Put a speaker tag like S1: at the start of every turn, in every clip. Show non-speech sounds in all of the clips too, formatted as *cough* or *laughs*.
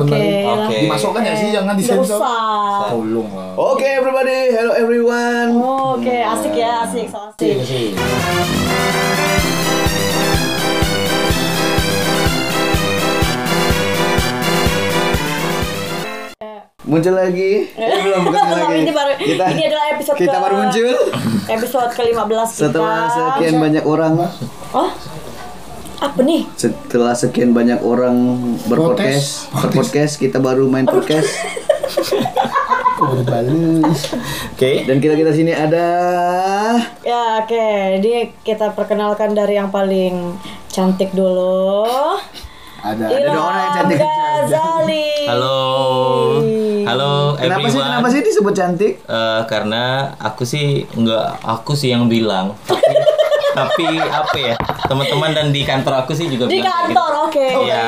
S1: Oke. lah.
S2: Oke.
S3: Dimasukkan ya sih jangan Oh,
S1: Nggak
S3: disensor.
S1: usah.
S3: Tolong lah.
S2: Oke everybody, hello everyone.
S1: Oh, Oke, asik ya, asik, so asik.
S3: Iya sih.
S2: Muncul lagi. Eh, belum
S1: *laughs*
S2: bukan lagi.
S1: ini baru, ini adalah episode
S2: kita
S1: ke-
S2: baru muncul
S1: Episode ke-15 kita.
S2: setelah sekian banyak orang
S1: Oh, apa nih?
S2: setelah sekian banyak orang berpodcast
S3: Protes.
S2: berpodcast kita baru main podcast
S3: Oh, dibales.
S4: Oke.
S2: dan kita kita sini ada
S1: Ya oke, jadi kita perkenalkan dari yang paling cantik dulu.
S3: Ada.
S1: Ilham
S2: orang yang cantik.
S1: Ghazali.
S4: Halo. Halo
S2: kenapa
S4: everyone.
S2: sih kenapa sih disebut cantik
S4: Eh, karena aku sih nggak aku sih yang bilang tapi *laughs* tapi apa ya teman-teman dan di kantor aku sih juga
S1: Di
S4: bilang kayak
S1: kantor, oke.
S4: gitu. Iya.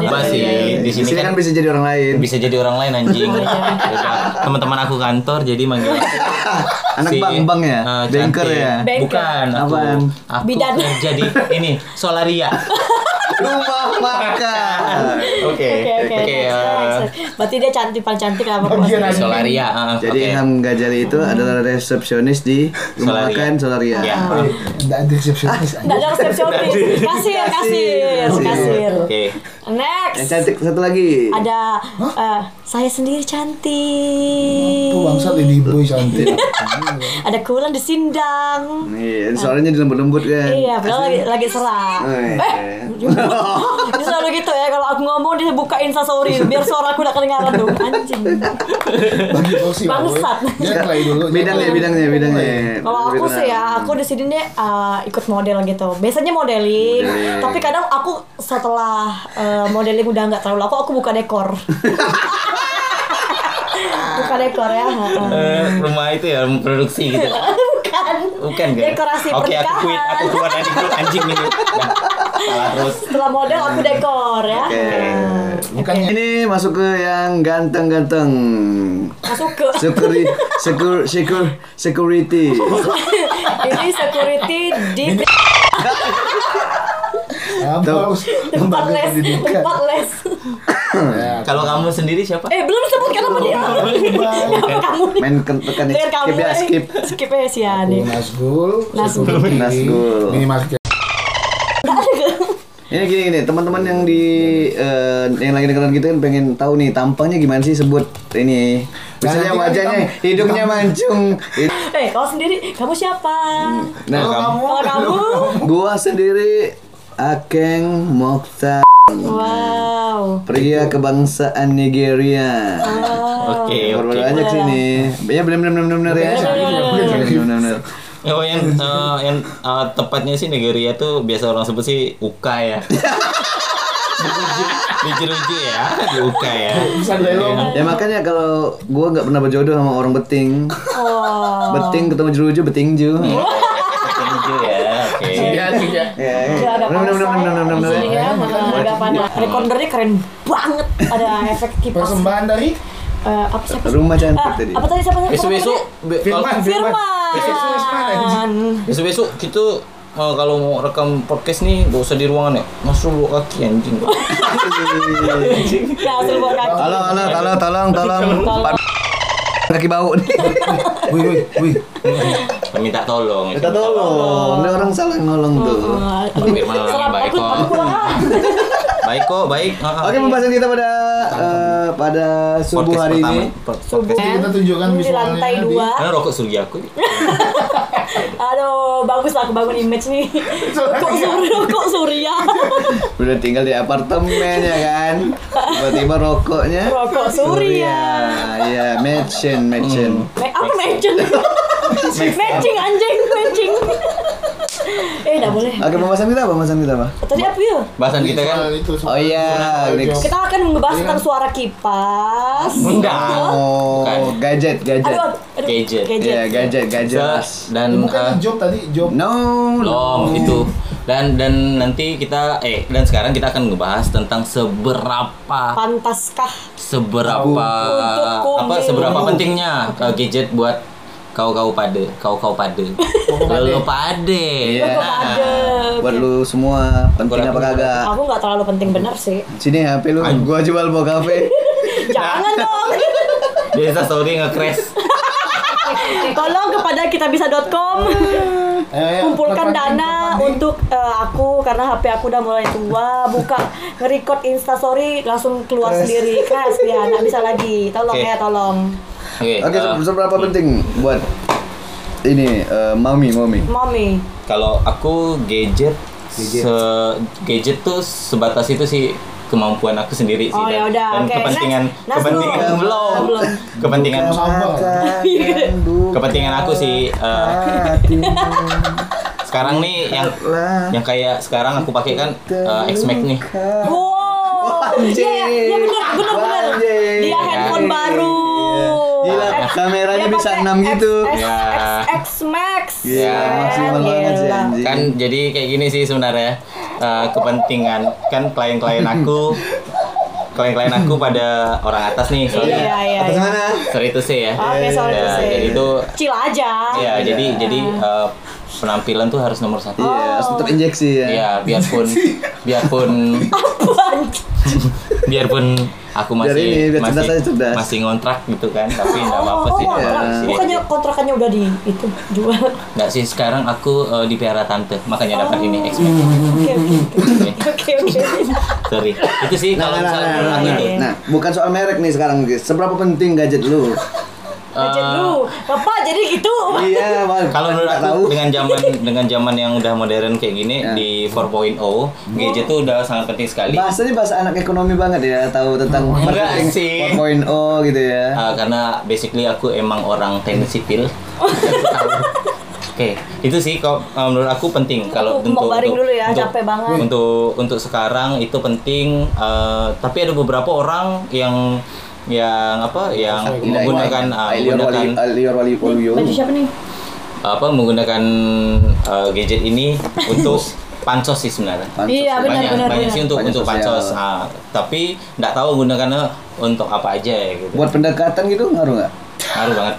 S1: Di-
S4: Mbak sih di
S2: di
S4: sini kan
S2: kan, bisa jadi orang lain
S4: bisa jadi orang lain anjing.
S1: Iya,
S4: Beda. Teman-teman aku kantor jadi manggil aku
S2: *laughs* anak
S4: si,
S2: bang bang ya
S4: eh,
S2: banker
S4: cantik.
S2: ya
S1: Banker.
S4: Bukan aku
S2: Apaan?
S4: aku
S1: Bidan.
S4: kerja
S1: *laughs*
S4: di ini solaria.
S2: rumah
S4: *laughs*
S2: makan
S4: Oke.
S1: Oke oke.
S4: Oke.
S1: next,
S4: eh,
S1: next, next. Berarti dia cantik paling cantik apa
S3: Bagian
S1: maksudnya?
S3: aja.
S4: Solaria. eh,
S2: jadi
S4: oke.
S2: Ilham Gajali itu adalah resepsionis di rumah
S4: Solaria.
S2: makan Solaria
S4: Iya.
S3: Nggak ada resepsionis aja.
S1: Nggak ada resepsionis. Kasir, kasir, kasir.
S4: Oke.
S2: yang
S1: Next.
S2: cantik satu lagi
S1: Ada eh, saya sendiri cantik.
S3: Itu bangsat ini boy cantik.
S1: Ada kulan di sindang.
S2: Iya, suaranya dilembut-lembut kan.
S1: Iya, Eh, padahal lagi lagi serak.
S2: Oh, iya.
S1: Dia selalu gitu ya kalau aku ngomong dia buka instastory biar suara aku udah kedengaran dong anjing.
S3: Bagi porsi lah, boy.
S1: Bangsat.
S3: Dia try dulu. dia
S2: Bidangnya,
S3: try.
S2: ya, bidangnya, bidangnya.
S1: Kalau aku sih ya, aku di sini deh uh, ikut model gitu. Biasanya modeling,
S2: Modeling.
S1: tapi kadang aku setelah uh, modeling udah nggak terlalu laku, aku buka
S2: *laughs*
S1: dekor. buka dekor ya. heeh.
S4: Eh, rumah itu ya produksi gitu.
S1: *laughs* Bukan.
S4: Bukan kan?
S1: Dekorasi
S4: Oke, aku
S1: pernikahan.
S4: quit, aku keluar dari grup anjing ini. Nah, salah terus.
S1: Setelah model aku dekor ya.
S2: Oke.
S1: Heeh.
S3: Bukannya
S2: Ini masuk ke yang ganteng-ganteng.
S1: Masuk ke
S2: Security, secur, secur, security.
S1: *laughs* ini security di
S3: Ampus. Lembaga
S1: tempat les,
S3: pendidikan.
S1: tempat les.
S3: Ya,
S4: Kalau kamu sendiri siapa?
S1: Eh belum sebutkan nama dia. *laughs* Apa kamu nih?
S2: Main ke- tekan
S1: Dengan kamu
S2: skip ya,
S1: eh.
S2: skip.
S1: skip ya si Ani.
S3: Aku Nasgul,
S1: Nasgul.
S3: security,
S2: Nasgul.
S3: Minimarket.
S2: Ini gini gini, teman-teman yang di eh, yang lagi dengerin gitu kan pengen tahu nih tampangnya gimana sih sebut ini. Misalnya
S3: Jangan
S2: wajahnya,
S3: ditamp-
S2: hidungnya mancung.
S1: Eh, kalau sendiri kamu siapa?
S2: Nah,
S1: Kalau kamu,
S2: gua sendiri Akeng Mokhtar.
S1: wow.
S2: pria kebangsaan Nigeria.
S1: Eh,
S4: Oke,
S2: Baru
S4: oke.
S2: banyak sih ini. Ya benar benar benar benar ya. Benar benar benar.
S4: Oh, yang eh, yang eh, tepatnya sih Nigeria tuh biasa orang sebut sih Uka *laughs* ya. Dijeruji ya, di Uka ya.
S3: Bisa dielong.
S2: Ya makanya kalau gua nggak pernah berjodoh sama orang beting.
S1: Oh. Iya.
S2: Beting ketemu jeruju betingju.
S4: Dijeruji ya. Oke.
S3: Ya, ya.
S2: Ya.
S1: Udah agak
S2: Benar
S1: panas
S2: benar benar benar benar.
S1: ya. Iya, nah, agak panas. Recordernya keren banget. Ada efek kipas.
S3: Persembahan dari
S1: Eh, apa siapa? sih?
S2: Rumah cantik
S1: Ah,
S2: tadi.
S1: apa tadi siapa? siapa
S4: Besok-besok
S1: namanya?
S4: be- kalau-
S3: Firman.
S1: Firman.
S4: besok-besok kita eh, kalau mau rekam podcast nih gak usah di ruangan ya. Masuk lu kaki *laughs* anjing.
S1: Nah, hasil buat kaki.
S2: Halo halo halo tolong tolong. Pat- Kaki bau nih.
S3: Wih, wih, wih.
S4: Minta tolong.
S2: Kita tolong. Ini orang salah nolong tuh.
S1: Ah, aduh.
S4: Firman orang yang
S1: Serap,
S4: baik
S1: aku
S4: kok.
S1: aku pulang ah.
S4: Baik kok, baik. Ah, ah.
S2: Oke pembahasan kita pada eh, pada subuh
S4: Podcast
S2: hari
S4: pertama,
S2: ini.
S4: podcast.
S3: Kita tunjukkan
S1: Di
S3: visualnya
S1: lantai
S3: nanti.
S1: dua.
S4: Karena rokok surgi aku.
S1: Aduh, bagus lah aku bangun image
S3: *laughs*
S1: nih. Kok Surya, kok Surya.
S2: Udah tinggal di apartemen ya kan. Tiba-tiba rokoknya.
S1: Rokok Surya. Hmm.
S2: Iya, mansion, mansion.
S1: Me- apa matching? matching anjing, matching. eh, enggak boleh.
S2: Oke, pembahasan kita apa? Pembahasan kita apa?
S1: Tadi apa ya?
S4: Bahasan kita kan
S3: Visual itu
S2: Oh iya,
S3: visual itu.
S2: next.
S1: Kita akan membahas tentang suara kipas.
S4: enggak
S2: Oh,
S4: Bukan.
S2: gadget, gadget.
S1: Aduh, aduh.
S4: Gadget.
S2: Iya, gadget, gadget.
S4: dan
S3: Ini bukan
S4: eh,
S3: yang job tadi, job.
S2: No,
S4: belum itu dan dan nanti kita eh dan sekarang kita akan ngebahas tentang seberapa
S1: Pantaskah
S4: seberapa
S1: Untukku
S4: apa
S1: milik.
S4: seberapa pentingnya eh, gadget buat kau kau pade kau kau pade *laughs* lo pade
S2: Iya.
S1: Kok ada?
S2: Buat lu semua penting apa kagak?
S1: Aku nggak terlalu penting bener sih.
S2: Sini HP lu, gua jual mau kafe.
S1: Jangan
S2: *laughs*
S1: dong.
S4: biasa story nge-crash
S1: Tolong kepada kitabisa.com
S3: Ayo, ayo,
S1: kumpulkan
S3: crowdfunding,
S2: Nah,
S1: dana
S3: crowdfunding.
S1: untuk eh, aku karena HP aku udah mulai tua. Buka nge-record instastory langsung keluar sendiri. Crash dia nggak bisa lagi. Tolong
S4: Oke.
S1: ya tolong.
S4: oke
S2: Oke,
S4: eh,
S2: se- seberapa penting buat ini eh, mami, mami.
S1: Mommy.
S4: kalau aku gadget gadget. gadget tuh sebatas itu sih kemampuan aku sendiri sih
S1: Oh,
S4: dan,
S1: yaudah,
S4: dan
S1: oke.
S4: kepentingan
S1: Next, next
S4: kepentingan
S1: dulu.
S4: belum
S1: Belum.
S4: *laughs* kepentingan
S3: Bukan
S2: kan.
S3: sabar.
S1: Iya.
S4: kepentingan aku sih eh, sekarang nih yang yang kayak sekarang aku pakai kan eh, X-Max nih
S1: Wow.
S2: Anjing.
S1: Iya, iya bener, bener, bener.
S2: Anjing.
S1: Dia handphone
S2: Anjing.
S1: baru.
S2: Gila,
S1: Eh,
S2: kameranya
S1: dia
S2: bisa
S1: pakai
S2: 6 gitu.
S1: X, X,
S4: Ya.
S1: X, X Max.
S2: Iya, maksimal banget sih
S1: Gila. Iya,
S2: anjing.
S4: kan jadi kayak gini sih sebenarnya eh, kepentingan kan klien-klien aku klien-klien aku pada orang atas nih
S1: Iya,
S4: soalnya
S1: iya,
S2: atas
S1: iya.
S2: mana?
S4: sorry itu sih ya
S1: Oke,
S4: Ya,
S1: sorry to say.
S4: jadi itu
S1: Chill aja.
S2: Ah,
S4: ya jadi jadi eh, penampilan tuh harus nomor satu
S2: Iya, harus tetap injeksi ya.
S4: ya biarpun biarpun
S1: Apaan?
S4: biarpun aku masih
S2: Biar ini, biar
S4: masih
S2: cerdas aja, cerdas.
S4: masih ngontrak gitu kan tapi nggak apa-apa
S1: Oh,
S4: sih nggak
S1: kontrak.
S4: apa-apa
S2: Iya.
S4: sih
S1: Bukannya kontrakannya udah di itu jual.
S4: nggak sih sekarang aku eh, dipelihara tante makanya dapat
S2: Oh.
S4: ini X-Men.
S1: Oke, oke, oke. Oke, oke.
S4: sorry itu sih
S2: Nah,
S4: kalau
S2: nah,
S4: misalnya
S2: nah, nah,
S4: menurut
S2: nah,
S4: aku
S2: nah.
S4: itu
S2: Nah, bukan soal merek nih sekarang, guys. Seberapa penting gadget
S4: *laughs*
S2: lu?
S4: Eh,
S1: Budget lu. Bapak jadi gitu.
S2: Iya, Bang.
S4: kalau menurut
S2: Nggak
S4: aku dengan
S2: *laughs*
S4: zaman dengan zaman yang udah modern kayak gini
S2: Ya.
S4: di 4.0 gadget tuh udah sangat penting sekali
S2: bahasanya bahasa anak ekonomi banget ya, tahu tentang
S4: Enggak
S2: marketing
S4: sih.
S2: 4.0 gitu ya.
S4: Uh, karena basically aku emang orang teknik
S2: *laughs*
S4: sipil. Aku tahu. Oke, itu sih kalau uh, menurut aku penting kalau
S1: Aku mau baring dulu ya,
S4: untuk,
S1: capek banget.
S4: Untuk untuk sekarang itu penting. uh, tapi ada beberapa orang yang yang apa yang menggunakan uh,
S2: Alior
S4: menggunakan
S2: Wali Alior Wali Waluyo.
S1: Baju siapa nih?
S4: apa menggunakan uh, gadget
S2: *laughs*
S4: ini untuk pansos sih sebenarnya.
S2: Pansos.
S1: Iya, benar,
S4: banyak
S1: benar,
S4: banyak
S1: benar.
S4: sih untuk
S2: Banyak
S4: untuk
S2: sosial.
S4: pansos. Ah, tapi nggak tahu gunakannya untuk apa aja ya gitu.
S2: Buat pendekatan gitu ngaruh nggak?
S4: Ngaruh banget.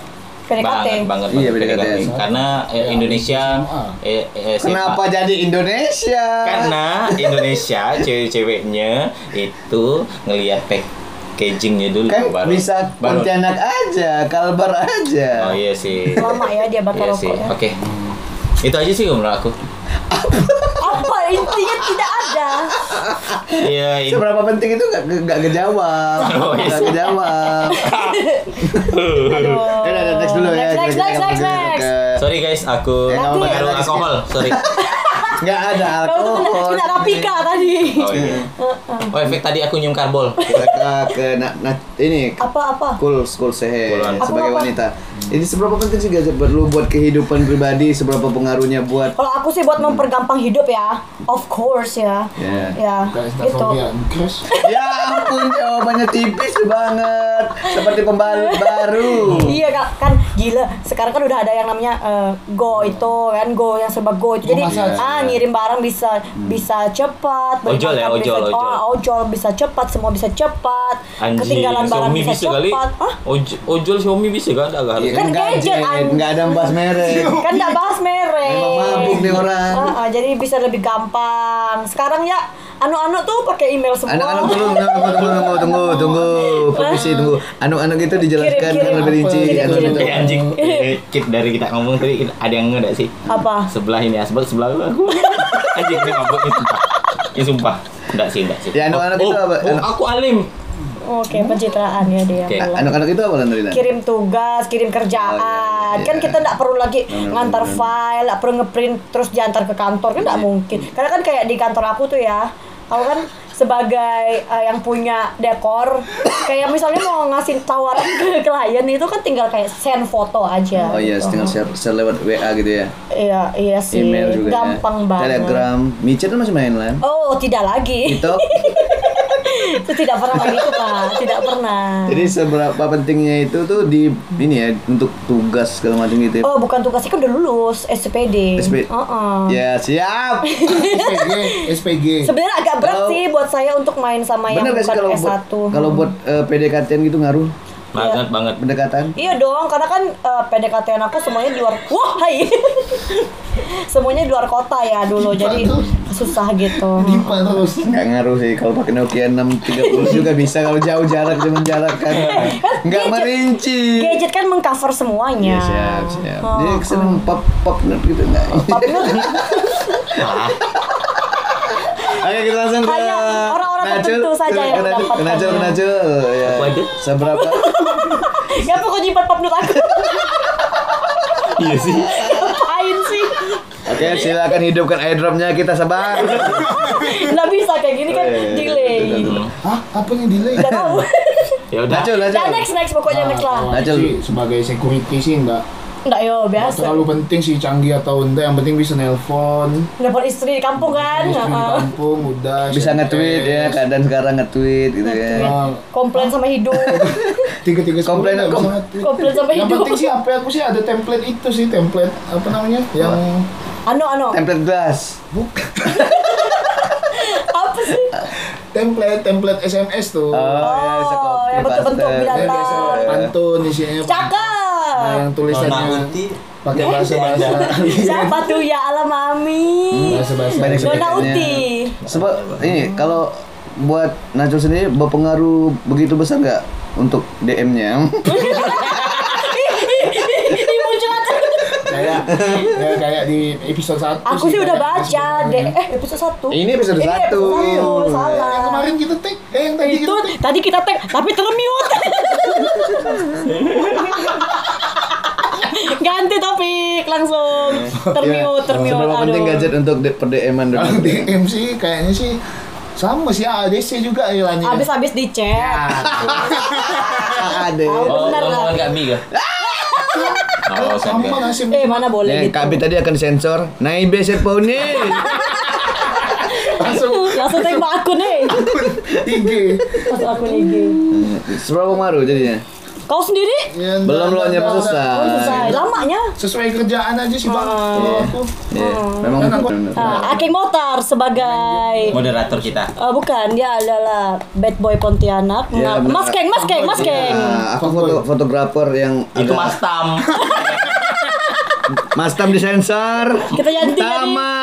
S1: PDKT.
S4: Banget banget.
S2: Iya,
S4: banget
S2: PDKT.
S4: Karena eh, Indonesia eh, eh, siapa-
S2: Kenapa jadi Indonesia?
S4: Karena Indonesia cewek-ceweknya itu ngelihat packagingnya dulu
S2: kan
S4: baru
S2: bisa
S4: baru-
S2: Pontianak aja, Kalbar aja.
S4: Oh iya sih.
S1: Lama ya dia bakar
S4: Iya
S1: rokok
S4: sih.
S1: ya.
S4: Oke. Itu aja sih menurut aku.
S1: Apa intinya tidak ada.
S4: Iya, ini.
S2: Seberapa penting itu nggak nggak kejawab,
S4: Oh, iya
S2: nggak
S4: sih. *laughs*
S2: kejawab.
S1: Aduh.
S2: Ya udah, udah, next dulu ya.
S1: Next, next, next,
S2: Kita
S1: next,
S2: lanjut
S1: next.
S2: ke-
S4: Sorry guys, aku
S2: Ya, nggak apa-apa,
S4: pengaruh
S2: nggak ada
S4: alkohol.
S2: *laughs*
S4: Sorry.
S2: Nggak ada
S1: Kau tuh kena,
S2: alkohol.
S1: kena rapika tadi.
S4: Oh iya. Oh efek tadi aku nyium karbol.
S2: Kita ke na- na- ini
S1: Apa-apa?
S2: Cool, cool sehe
S4: Cool,
S1: Apa,
S2: sebagai
S1: apa?
S2: wanita. Ini seberapa penting sih gadget buat lu buat kehidupan pribadi, seberapa pengaruhnya buat
S1: Kalau aku sih buat mempergampang hidup ya, of course ya,
S4: Iya.
S2: Ya.
S1: ya
S3: Guys, tak
S1: gitu.
S3: sorry ya. Crash.
S2: Ya ampun jawabannya tipis banget, seperti pembalut baru.
S1: Iya Kak. kan gila sekarang kan udah ada yang namanya eh, go itu kan go yang serba go itu jadi
S3: Memasak.
S2: Iya.
S1: ah ngirim barang bisa
S2: Hmm.
S1: bisa cepat beli
S4: Ojol ya,
S1: makan
S4: ojol,
S1: bisa,
S4: ojol.
S1: oh, ojol bisa cepat semua bisa cepat
S4: Anjing,
S1: ketinggalan barang
S4: Xiaomi
S1: bisa,
S4: bisa
S1: cepat
S4: kali.
S1: Hah?
S4: Oj- ojol Xiaomi bisa kan agak harus.
S2: Iya kan
S1: Kan
S2: gadget,
S1: gadget, an-
S2: nggak ada bahas
S1: *laughs*
S2: merek.
S1: kan nggak bahas merek
S2: Emang mabuk nih orang.
S1: Ah, ah, jadi bisa lebih gampang sekarang ya anu-anu tuh pakai email semua
S2: Anak-anak
S1: *laughs*
S2: tunggu, tunggu, tunggu, tunggu, tunggu, tunggu, permisi tunggu. Anak-anak itu dijelaskan
S1: Kirim, kirim.
S2: dengan lebih rinci.
S1: Kirim,
S2: anak-anak
S1: kirim.
S2: itu.
S4: Eh anjing,
S2: Iya.
S4: eh, kit dari kita ngomong tadi kita- ada yang enggak sih?
S1: apa
S4: Sebelah ini asbak, sebelah *laughs* aku. Anjing ini mabuk ini sumpah. Ini sumpah. Enggak sih, enggak sih.
S2: Ya, anak-anak
S4: Oh,
S2: itu apa?
S4: oh,
S2: Anak-
S4: aku alim.
S1: Oke, pencitraan ya dia.
S4: Oke.
S1: Pulang.
S2: Anak-anak itu apa Landrina?
S1: Kirim tugas, kirim kerjaan.
S2: Oh, iya, iya.
S1: Kan kita nggak perlu lagi
S2: Benar,
S1: ngantar
S2: benar. Iya,
S1: file, nggak perlu ngeprint terus diantar ke kantor kan nggak mungkin. Karena kan kayak di kantor aku tuh ya, aku kan sebagai eh, yang punya
S2: *coughs*
S1: dekor, kayak misalnya mau ngasih tawaran ke klien itu kan tinggal kayak send foto aja.
S2: Oh iya,
S1: gitu.
S2: setengah share, share lewat WA gitu ya.
S1: Iya, iya sih.
S2: Email juga ya.
S1: Gampang banget.
S2: Telegram, micet kan masih main lah.
S1: Oh, tidak lagi.
S2: TikTok.
S1: *laughs* itu tidak pernah lagi itu, Pak. Tidak pernah.
S2: Jadi seberapa pentingnya itu tuh di ini ya untuk tugas segala macam gitu. ya.
S1: Oh bukan tugasnya kan udah lulus SPD.
S2: SP.
S1: Uh-uh.
S2: Ya siap.
S3: SPG, SPG.
S1: Sebenarnya agak berat
S2: Kalau-
S1: sih buat saya untuk main sama yang
S2: Bener
S1: bukan
S2: gak sih kalau
S1: S1.
S2: buat kalau buat eh, PDKT-an gitu ngaruh?
S4: banget banget
S2: pendekatan
S1: Iya dong, karena kan eh, PDKT aku semuanya di luar Wah, hai *laughs* Semuanya di luar kota ya dulu,
S3: Gimana
S1: jadi
S3: tuh?
S1: susah gitu
S3: Dipa terus.
S2: Nggak ngaruh sih kalau pakai Nokia 630 juga bisa kalau jauh jarak cuman jarak kan. Nggak
S1: gadget-
S2: merinci.
S1: Gadget kan mengcover semuanya
S2: Iya siap siap.
S1: Oh,
S2: Dia seneng pop pop nerd gitu nggak? Pop Oke kita langsung ke
S1: Hanya orang-orang
S2: Najul.
S1: tertentu saja yang
S2: Ke Najul, ke Najul, ke
S1: mendapatkannya.
S2: Najul. Ya.
S4: Aku aja.
S2: Seberapa?
S1: Ya pokoknya nyimpan pop nut aku
S4: iya sih
S1: Ngapain sih
S2: Oke silakan hidupkan airdropnya kita
S1: *laughs*
S2: sebar.
S1: Nggak bisa kayak gini kan
S2: Eh,
S1: delay
S2: itu, itu, itu.
S3: Hah? Apa yang delay?
S1: Nggak tahu
S4: ya udah
S2: Najul
S1: Nah
S2: Najul.
S1: next next pokoknya next
S3: Nah,
S1: lah
S3: kalau
S2: Najul.
S3: sih Sebagai security sih enggak
S1: Nggak yo biasa
S3: terlalu penting sih canggih atau enggak yang penting bisa nelpon
S1: Dapat istri di kampung kan
S3: istri di
S1: Heeh.
S3: kampung udah
S2: Bisa
S3: SMS.
S2: nge-tweet ya keadaan sekarang nge-tweet gitu ya.
S3: Ah,
S1: Komplain sama hidup
S3: tiga tiga sepuluh
S2: Komplain,
S3: nggak
S2: kom-
S3: bisa nge-tweet.
S1: Komplain sama
S3: yang
S1: hidup.
S3: penting sih apa aku sih ada template itu sih template apa namanya yang
S1: Ano ano
S2: Template blast.
S3: bukan
S1: Apa sih
S3: template template SMS tuh
S2: ya,
S1: Oh,
S2: bisa copy
S1: yang bentuk-bentuk
S2: paste.
S1: binatang.
S3: Dia biasa pantun isinya Nah,
S1: Cakep
S3: yang tulisannya
S4: Nona Uti.
S3: pakai bahasa bahasa
S1: Siapa tuh ya alam mami
S3: Hmm, bahasa bahasa
S2: Banyak
S1: Nona Uti
S2: Sebab ini kalau buat Najwa sendiri berpengaruh begitu besar nggak untuk *laughs* DM-nya?
S1: Ini muncul aja
S3: kayak ya, kayak di episode satu
S1: Aku sih udah baca deh.
S3: deh
S1: Eh episode satu.
S2: Ini episode
S1: Ini
S2: satu.
S1: episode satu,
S3: yang
S1: Salah.
S3: kemarin kita take eh yang tadi
S1: Itu
S3: kita take
S1: tadi kita tag tapi termute. Ganti topik langsung. Termute, termute.
S2: Iya. Seberapa penting gadget untuk de- per DM-an dulu?
S3: Kalau
S2: *laughs*
S3: DM sih kayaknya sih sama sih ADC juga ya, ilannya.
S1: Abis-abis di chat.
S2: Ada.
S1: Tahu.
S4: oh
S1: Bener lah.
S4: ngomong nggak
S2: *laughs*
S4: bi gak oh
S3: Kan sama
S4: sampai
S3: nasib.
S1: Eh mana boleh
S2: Nih,
S1: gitu.
S2: Kak Abi tadi akan Nah, sensor. Naibe sepone.
S3: langsung
S1: Langsung tag sama aku nih.
S3: IG.
S1: Langsung aku nih.
S2: *laughs* Seberapa pengaruh jadinya?
S1: Kau sendiri?
S3: Ya,
S2: Belum
S3: ntar-
S2: lo nyampe
S3: ntar-
S2: selesai.
S1: Oh, selesai. Lamanya.
S3: Sesuai kerjaan aja sih bang.
S1: Ah.
S3: Kalau aku
S2: Iya, memang
S3: Kan aku-
S2: benar-benar.
S1: ya. Nah, Aking Motar sebagai
S4: moderator kita
S1: Eh, bukan, dia adalah bad boy Pontianak.
S2: Iya,
S1: Nah,
S2: benar.
S1: mas Keng, Mas Keng, Mas Keng.
S2: Nah, aku foto fotografer yang
S4: itu
S2: agak-
S4: mas tam
S2: Mas Tam disensor.
S1: Kita ganti tadi.
S2: Tama.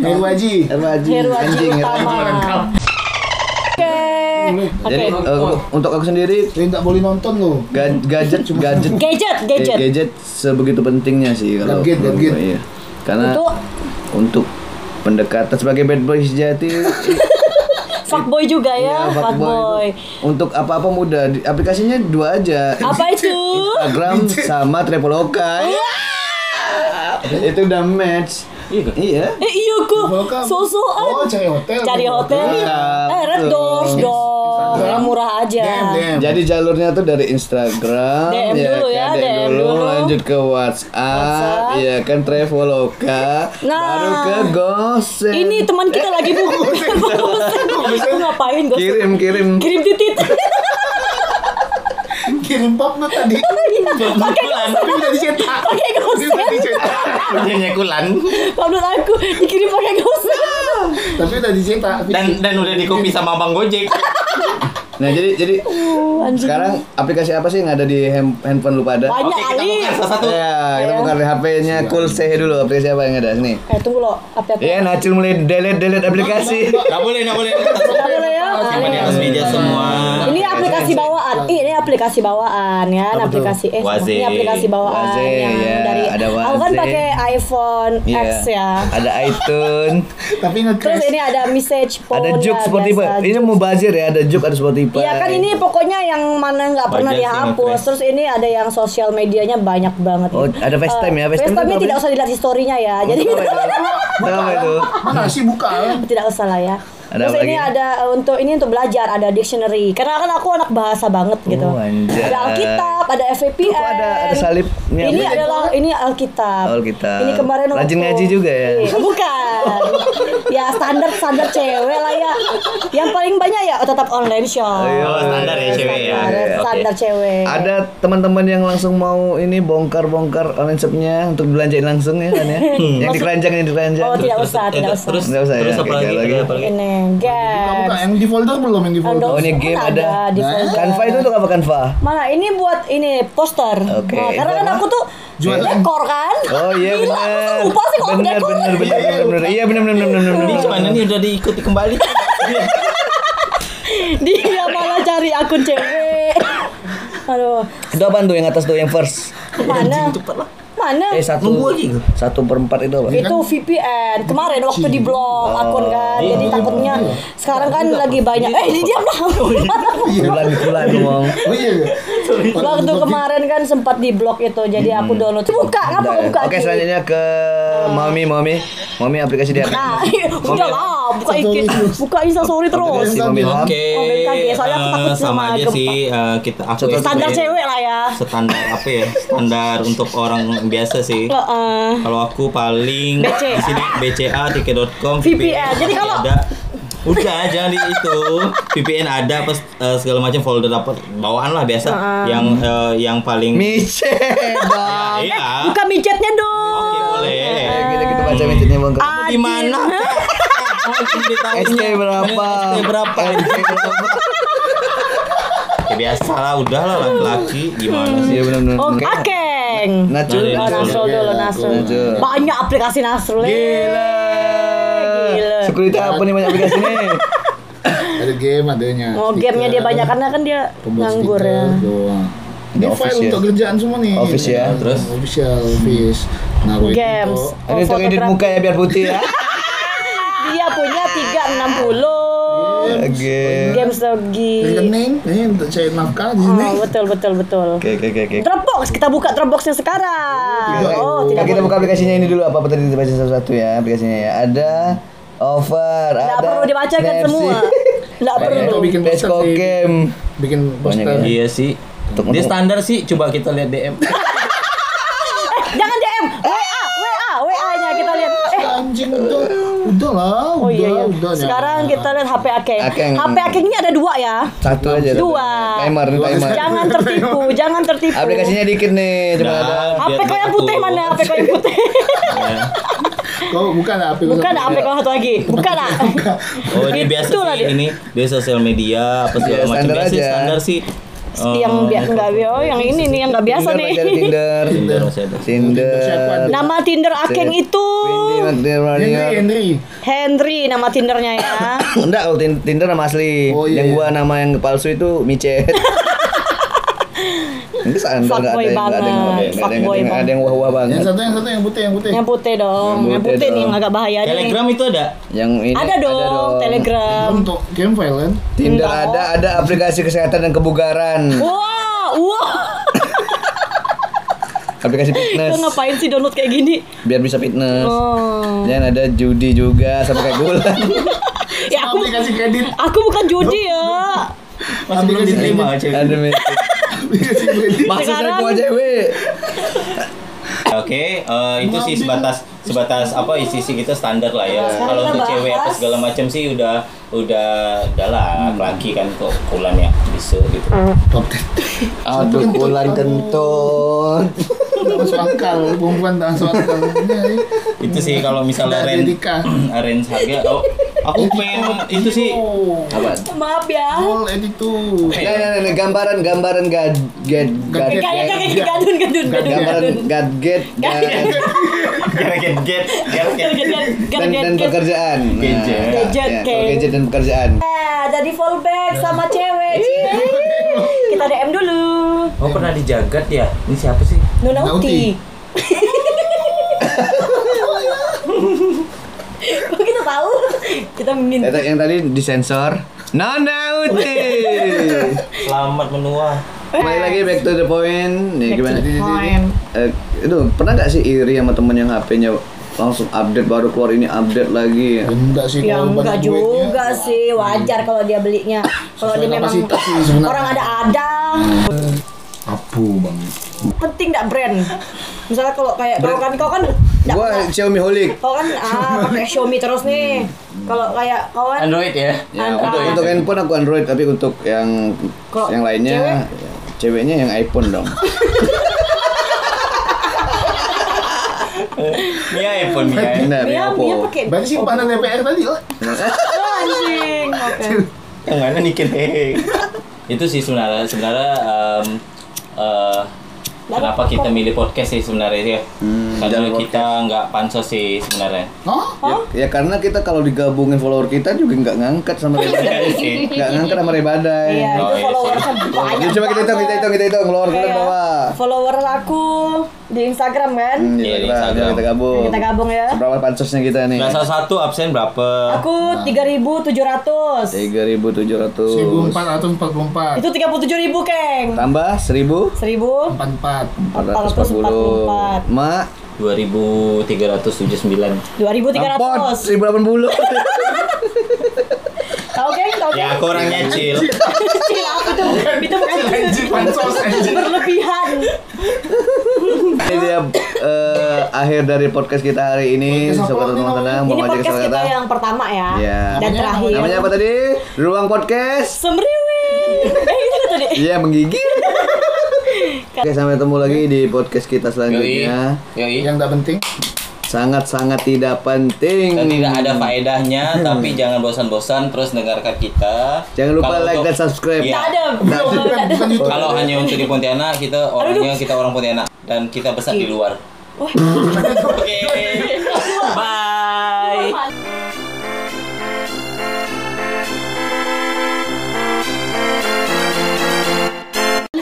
S3: Heru Aji.
S2: Heru Aji.
S1: Heru Aji
S2: Anjing, Heru Aji.
S1: utama. Oke. Oke.
S2: Jadi eh, untuk aku sendiri
S3: Jadi nggak boleh nonton lo.
S2: Ga- gadget gadget
S1: Gadget, gadget.
S2: Eh, gadget sebegitu pentingnya sih kalau
S3: Gadget,
S2: menurut
S3: gadget.
S2: gua, iya. karena
S1: Untuk-
S2: untuk pendekatan sebagai bad
S1: *laughs*
S2: boy sejati
S1: Fuckboy juga ya,
S2: iya,
S1: fuckboy.
S2: itu untuk apa-apa mudah Di- aplikasinya dua aja
S1: Apa Oh. itu?
S2: *laughs* Instagram sama Traveloka Iya. itu udah match
S4: Iya nggak?
S2: iya
S1: Eh iya ku,
S3: Welcome. Oh,
S1: sosokan
S3: cari hotel.
S1: cari hotel.
S2: Welcome.
S1: Eh red doors
S2: Iya.
S1: dong, yang murah aja.
S3: DM.
S2: Jadi jalurnya tuh dari Instagram,
S1: DM dulu ya,
S2: kan,
S1: DM dulu.
S2: lanjut ke WhatsApp,
S1: WhatsApp.
S2: ya kan Traveloka,
S1: Nah.
S2: baru ke Gosen.
S1: Ini teman kita lagi
S2: *laughs*
S1: bu, *laughs* Lu ngapain gue?
S2: kirim kirim.
S1: Kirim
S4: *laughs*
S1: titit.
S3: Kirim pop lo
S1: *laughs*
S3: tadi.
S1: Pakai
S4: Kulan
S3: Tapi udah dicetak.
S1: pakai
S3: Udah
S1: gosen.
S3: dicetak.
S4: punyanya kulan
S1: Menurut aku dikirim pakai gosen.
S3: Tapi udah dicetak.
S4: dan
S1: Iya.
S4: dan udah dikopi sama bang gojek
S2: Nah jadi jadi
S1: anjing.
S2: sekarang aplikasi apa sih yang ada di hand- handphone lu pada?
S1: Banyak Iya.
S4: Oke, kita
S1: kali.
S4: buka salah satu
S2: Ya, kita buka HP-nya Cool Sehe dulu aplikasi apa yang ada sini.
S1: Eh tunggu lo, apa apa?
S2: Ya, Nacil mulai delete delete aplikasi.
S4: nggak boleh nggak boleh
S1: Nggak boleh ya.
S4: simpan di atas meja semua
S1: Ini aplikasi bawaan. Ih, ini aplikasi bawaan ya, aplikasi eh
S4: Waze.
S1: ini aplikasi bawaan
S2: Waze,
S1: yang
S2: ya,
S1: dari
S2: ada
S1: Aku kan
S2: Waze.
S1: pakai iPhone
S2: Iya.
S1: X ya.
S2: Ada iTunes,
S3: Tapi
S1: Terus
S3: nge-crash.
S1: ini ada message phone
S2: ada Juk
S1: ya, biasa.
S2: Spotify. Ini mau bazir ya, ada Juk, ada Spotify.
S1: Iya kan ini pokoknya yang mana nggak pernah
S4: Banyak sih
S1: dihapus.
S4: nge-trace.
S1: Terus ini ada yang sosial medianya banyak banget. Eh,
S2: Oh, ada FaceTime ya? FaceTime
S1: FaceTime,
S2: itu apa
S1: tidak
S2: ya? oh, iya.
S1: usah dilihat historinya ya. Jadi
S2: Kenapa
S1: gitu.
S2: itu?
S3: Mana sih buka?
S1: *laughs* tidak usah lah ya.
S2: Ada
S1: Terus
S2: apa
S1: ini
S2: lagi?
S1: ada uh, untuk ini untuk belajar ada dictionary. Karena kan aku anak bahasa banget gitu.
S2: Oh, anjay.
S1: ada Alkitab, ada FVPN.
S2: Kok ada- ada salibnya?
S1: Ini
S2: Apa?
S1: adalah ini Alkitab.
S2: Alkitab.
S1: Ini kemarin
S2: Rajin ngaji juga ya? *laughs*
S1: Iya, Bukan. ya ya standar standar cewek lah ya yang paling banyak ya tetap online shop
S4: Oh,
S2: Iya,
S4: standar ya cewek ya.
S1: standar,
S4: Oke.
S1: standar cewek
S2: Ada teman-teman yang langsung mau ini bongkar-bongkar online shopnya untuk belanjain langsung ya kan
S1: *laughs*
S2: ya? yang di keranjang, yang di keranjang.
S1: oh tidak usah
S4: Eh,
S1: tidak
S4: terus-
S1: usah
S4: Terus
S2: Nggak usah ya,
S4: terus apa
S2: oke,
S4: lagi?
S2: oke, lagi.
S4: Ada apa lagi?
S1: ini
S3: Kamu
S1: guys
S3: kak yang di folder belum yang di folder?
S1: Adopt.
S2: Oh ini game
S1: Kan
S2: ada.
S1: ada
S4: Nah,
S1: di
S4: ya.
S1: folder.
S2: Canva itu untuk apa Canva?
S1: Mana ini buat ini poster.
S2: Oke,
S1: Nah, karena
S2: itu
S1: kan
S2: apa?
S1: aku tuh
S3: Jualan.
S1: dekor kan.
S2: Oh iya
S1: Gila, aku tuh
S2: benar.
S1: lupa sih kalau
S2: Benar
S1: dekor.
S2: benar benar benar benar. Iya benar benar benar benar.
S4: Ini
S2: benar.
S4: gimana nih udah diikuti kembali?
S1: *laughs* Dia malah cari akun cewek. *laughs* Aduh,
S2: Itu apa tuh yang atas tuh yang first?
S1: mana? Mana?
S2: Eh satu.
S4: Nunggu lagi gua.
S2: Satu per empat itu apa?
S1: itu VPN kemarin waktu di blok akun kan jadi takutnya sekarang kan lagi banyak eh ini diam lah *laughs*
S2: Bulan bulan ngomong.
S3: Iya. Oh iya. gitu. iya.
S1: waktu kemarin kan sempat di blok itu jadi aku download buka ngapa
S2: Bentar
S1: nggak
S2: ya.
S1: buka
S2: Oke
S1: Ki?
S2: selanjutnya ke Mami Mami Mami aplikasi dia.
S1: nah *laughs* udah lah buka IG buka Insta story terus
S2: Si Mami Ham.
S4: Oke.
S1: Oh, BKG. Soalnya aku
S4: eh,
S1: takut
S4: sama
S1: sama
S4: aja
S1: gempa.
S4: sih eh, kita aku
S2: Contoh
S1: standar cewek lah ya
S4: Standar apa ya? Standar untuk orang biasa sih.
S1: eh, Heeh.
S4: Kalau aku paling
S1: BCA.
S4: di sini BCA tiket.com
S1: VPN. Jadi kalau-
S4: ada udah jangan di itu VPN ada apa eh, segala macam folder dapat bawaan lah biasa
S1: Ah.
S4: yang eh, yang paling
S2: Mice bang.
S4: Ya, iya.
S1: buka micetnya dong
S4: Oke boleh.
S2: Kita gitu, kita baca
S4: Hmm.
S2: micetnya bang.
S1: Ah.
S4: Di mana? Mau diberitahunya.
S2: ST berapa?
S4: ST berapa?
S2: ST berapa?
S4: Ya, biasa lah, udah lah laki-laki gimana sih?
S2: Iya benar benar.
S1: Oh, akeng.
S2: Nacul.
S4: Nah,
S1: Oh, Nasrul
S3: Iya,
S1: dulu, Nasrul.
S2: Nasrul.
S1: Banyak aplikasi Nasrul. eh.
S2: Gila.
S1: Gila.
S2: Security apa nih banyak aplikasi nih?
S3: Ada game adanya.
S1: Oh, gamenya dia banyak karena kan dia nganggur ya.
S3: Ini
S2: Ini
S3: file
S2: office ya?
S3: untuk kerjaan semua nih. Iya.
S2: Office ya,
S4: terus?
S3: Official, office. Nah, kalau itu
S1: Games.
S3: untuk-
S1: Oh,
S2: Ini untuk edit
S1: fotografi.
S2: muka ya biar putih
S1: *laughs*
S2: ya.
S1: Dia punya
S3: Iya.
S1: 360.
S2: Oke.
S1: Games lagi.
S3: Rekening, ini untuk cari nafkah di sini.
S1: Oh, betul betul betul.
S2: Oke oke oke oke.
S1: Dropbox, kita buka Dropboxnya sekarang. Oh, tidak
S2: Nah, kita
S1: boleh.
S2: buka aplikasinya ini dulu apa apa tadi dibaca satu-satu ya aplikasinya ya. Ada over,
S1: Tidak
S2: ada
S1: perlu dibacakan
S2: Snapseed,
S1: semua.
S2: *laughs*
S1: Tidak perlu.
S3: Atau bikin
S2: Let's
S3: poster
S2: go
S3: di-
S2: game.
S3: Bikin poster.
S2: ya.
S4: Iya sih.
S2: Untuk-
S4: Dia
S2: untuk-
S4: standar sih, coba kita lihat DM.
S1: Eh, jangan DM. WA, WA, WA-nya kita lihat. Eh,
S3: Anjing udah, udah lah, udah,
S1: Oh iya, iya.
S3: udah. ya.
S1: Sekarang kita lihat HP Akeng.
S2: Akeng.
S1: HP Akeng ini ada dua ya.
S2: Satu aja. satu.
S1: Dua.
S2: Timer, ini timer.
S1: Jangan
S2: *laughs*
S1: tertipu, jangan tertipu.
S2: Aplikasinya dikit nih, cuma
S4: Nah,
S2: ada.
S1: HP
S4: biar
S1: kau yang putih
S4: aku-
S1: mana? HP kau yang putih.
S4: Ya.
S3: Kau bukan lah, HP
S1: Bukan HP kau satu lagi. Bukan ah. lah.
S4: Oh, dia biasa
S1: Itulah
S4: sih
S1: Gitu dia.
S4: ini. Dia sosial media apa segala
S2: Iya,
S4: macam.
S2: standar
S4: Biasa sih,
S2: aja.
S4: standar sih.
S1: yang biar nggak oh yang ini nih yang nggak biasa
S2: ya.
S1: nih. Nah.
S2: Tinder, masih ada Tinder,
S4: Tinder Iya, masih ada.
S2: Tinder.
S1: Nama Tinder Akeng itu
S2: Windy, Tinder,
S3: Henry,
S2: Tinder.
S3: Henry.
S1: Henry nama Tindernya ya.
S2: Enggak, kalau Tin- Tinder nama asli.
S3: Oh, iya,
S2: Yang
S3: iya.
S2: gua nama yang palsu itu
S3: *laughs*
S2: micet. Ini standar enggak ada
S1: Fuckboy
S2: yang enggak ada yang
S1: banget,
S2: nggak ada yang- nggak
S1: fuckboy
S2: ada yang- nggak ada yang wah-wah
S3: Yang
S2: banget.
S3: satu, yang satu, yang putih, yang putih.
S1: Yang putih dong.
S2: Yang
S1: Yang
S2: putih
S1: putih nih
S2: dong.
S1: yang agak bahaya nih.
S4: Telegram itu ada.
S2: Yang ini
S1: Ada dong Telegram.
S3: Untuk game file kan?
S2: Tinder ada, ada aplikasi kesehatan dan kebugaran,
S1: *laughs* Wah, wah.
S2: aplikasi
S1: Itu
S2: fitness,
S1: ngapain sih download kayak gini?
S2: biar bisa fitness.
S1: Oh.
S2: Dan ada judi juga sama kayak
S3: *laughs*
S2: bulan.
S1: Ya aku
S3: Aplikasi kredit.
S1: aku bukan judi ya.
S4: Masih belum
S3: Aplikasi
S4: diterima cewek.
S2: Ada micet.
S3: Aplikasi kredit.
S2: Maksud saya
S1: Sekarang-
S2: gua cewek.
S4: Oke, eh, itu sih sebatas sebatas apa isi isi kita standar lah ya.
S1: Sekarang
S4: Kalau
S1: kita
S4: untuk cewek apa
S1: bahas.
S4: segala macam sih udah udah udah lah
S2: Hmm.
S4: laki kan kok kulan ya bisa gitu.
S3: Top 10.
S2: Aduh, bulan kentut.
S3: Nggak masuk akal, perempuan tak masuk akal. Iya, iya.
S4: Itu sih kalau misalnya
S3: Sudah
S4: range *clears throat*
S3: dedika.
S4: range harga oh, aku pengen itu sih
S3: Oh,
S2: Apa?
S4: *laughs*
S1: Maaf ya.
S3: all attitude.
S2: Nah, nah, nah, nah, gambaran gambaran gad gad gad
S1: Kayak gitu, kayak kayak gadun gadun gadun
S2: gambaran
S1: *laughs* gadun.
S2: gadget dan
S4: get get
S1: Gadun, *laughs*
S4: get
S1: gadun,
S2: dan,
S1: gadun,
S2: dan
S1: gadun.
S2: pekerjaan. Nah,
S4: Gadget.
S2: ya,
S1: Gadget,
S2: kalau
S1: Ken.
S2: gadget dan pekerjaan.
S1: Eh, jadi fallback sama cewek. Kita DM dulu.
S4: Oh pernah dijagat ya? Ini siapa sih?
S1: Nuna
S3: Nauti.
S1: Uti. *laughs* Kok kita tahu? Kita
S2: Ya,
S1: minta.
S2: ta- yang tadi disensor. Nana
S1: *laughs*
S2: Uti.
S4: Selamat menua.
S2: Kembali lagi back to the point. Nih Ya, gimana?
S1: Point.
S2: Eh, itu pernah nggak sih iri sama temen yang HP-nya langsung update baru keluar ini update lagi?
S3: Enggak sih
S1: Ya
S3: kalau
S1: enggak
S3: banyak duitnya.
S1: juga sih, wajar kalau dia belinya. Kalau
S3: Sesuai
S1: dia memang
S3: kapasitas sih sebenarnya.
S1: orang ada ada.
S3: Apu bang.
S1: Penting enggak brand? Misalnya kalau kayak kau kan kau kan nggak
S2: Gua
S1: pernah-
S2: Xiaomi holic.
S1: Kau kan ah pakai Xiaomi terus nih.
S2: Hmm.
S1: Kalau kan, kayak kawan
S4: Android ya.
S2: Ya,
S1: Android.
S2: untuk, untuk handphone aku Android, tapi untuk yang
S1: Kalau
S2: yang lainnya ya, ceweknya yang iPhone
S1: *laughs*
S2: dong.
S4: Mia iPhone Mia. ya.
S2: Nah,
S1: Mia,
S2: Oppo.
S1: Mia pakai
S3: Berarti simpanan DPR tadi lah.
S2: *laughs*
S1: Oh, anjing. Oke.
S4: Yang mana nikin hehe. eh, Itu sih sebenarnya sebenarnya em, eh, kenapa kita milih podcast sih sebenarnya ya?
S2: Hmm,
S4: Karena
S2: dan
S4: kita nggak pansos sih sebenarnya.
S3: Hah?
S1: Oh,
S2: Ya karena kita kalau digabungin follower kita juga nggak ngangkat sama Ray
S4: Iya
S2: Badai.
S4: sih.
S2: Nggak ngangkat sama Ray Badai.
S1: iya,
S4: Oh,
S1: itu
S4: iya
S1: followersnya banyak.
S2: Yuk, coba kita hitung, kita hitung, kita hitung. Keluar, keluar,
S1: Kayak
S2: bawah.
S1: Followers aku di Instagram kan.
S2: Hmm,
S4: Iya,
S2: kita,
S4: di
S2: kita, kita,
S4: Instagram.
S2: kita gabung.
S1: Kita gabung ya.
S2: Berapa pansosnya kita nih?
S4: Nah, salah satu absen berapa?
S2: Nah.
S1: Aku 3.700.
S2: 3.700
S3: 1444.
S1: Itu 37.000, Keng.
S2: tambah 1.000
S1: 1000
S3: 44.
S1: 444.
S2: 440 Mak
S4: 2379.
S1: 2300.
S2: Ampun, 1080
S1: Tahu geng, tahu geng.
S4: Ya, aku orang nyicil.
S1: Kecil apa
S2: *laughs*
S1: itu? Itu bukan
S3: Anjing pansos anjing.
S1: berlebihan.
S2: Ini dia eh, akhir dari podcast kita hari ini
S3: Podcast apa
S2: Sobat
S3: ini
S2: Rumah Tenang
S1: Ini
S2: Mau ngajak
S1: podcast
S2: salah
S1: kita
S2: kata
S1: yang Iya. pertama ya.
S2: Iya.
S1: Dan
S3: Namanya-
S1: terakhir.
S2: Namanya apa tadi? Ruang Podcast
S1: Semriwing. *laughs* Eh, itu kan tadi.
S2: Iya menggigil Oke sampai ketemu lagi di podcast
S4: Yoi.
S2: kita selanjutnya
S4: Yoi.
S3: Yang gak penting.
S2: Sangat-sangat tidak penting
S4: Dan tidak ada faedahnya,
S2: *laughs*
S4: tapi jangan bosan-bosan terus dengarkan kita.
S2: Jangan lupa
S4: Kalau
S2: like
S4: untuk-
S2: dan subscribe
S4: Iya.
S1: Enggak ada.
S2: Nah,
S3: Bukan, bukan, bukan YouTube.
S4: Kalau hanya untuk di Pontianak, kita orangnya kita orang Pontianak dan kita besar di luar.
S1: Wah.
S4: Oke.